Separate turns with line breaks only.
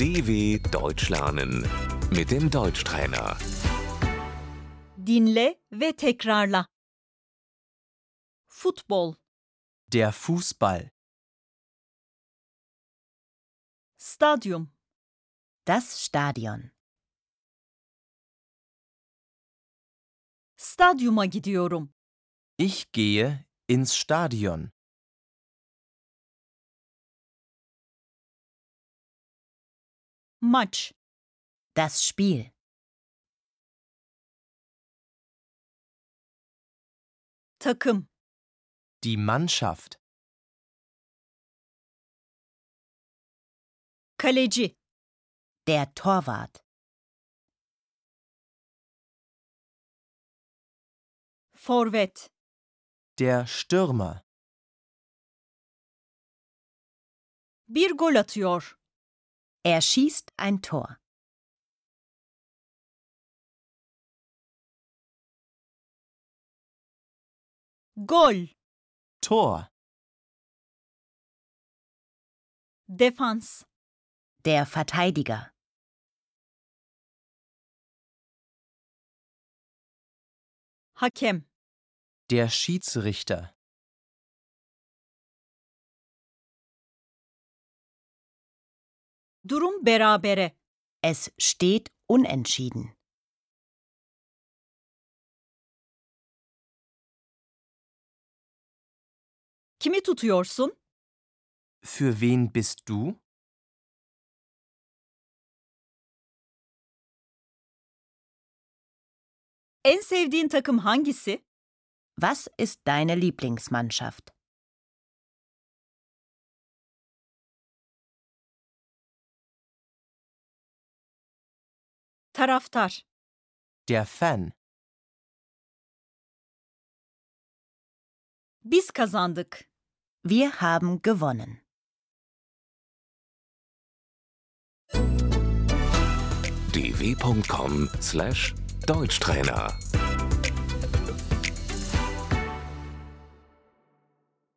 DW Deutsch lernen mit dem Deutschtrainer.
Dinle ve tekrarla. Futbol,
Der Fußball,
stadyum,
Das Stadion.
stadyuma gidiyorum.
ich gehe ins Stadion.
Maç,
Das Spiel.
takım,
Die Mannschaft,
kaleci,
Der Torwart.
forvet,
der Stürmer,
bir gol atıyor.
Er schießt ein Tor.
Gol,
Tor,
defans,
Der Verteidiger.
hakem,
der Schiedsrichter,
durum berabere,
Es steht unentschieden.
kimi tutuyorsun?
Für wen bist du?
En sevdiğin takım hangisi?
Was ist deine Lieblingsmannschaft?
Taraftar,
Der Fan,
biz kazandık.
Wir haben gewonnen.
dw.com/deutschtrainer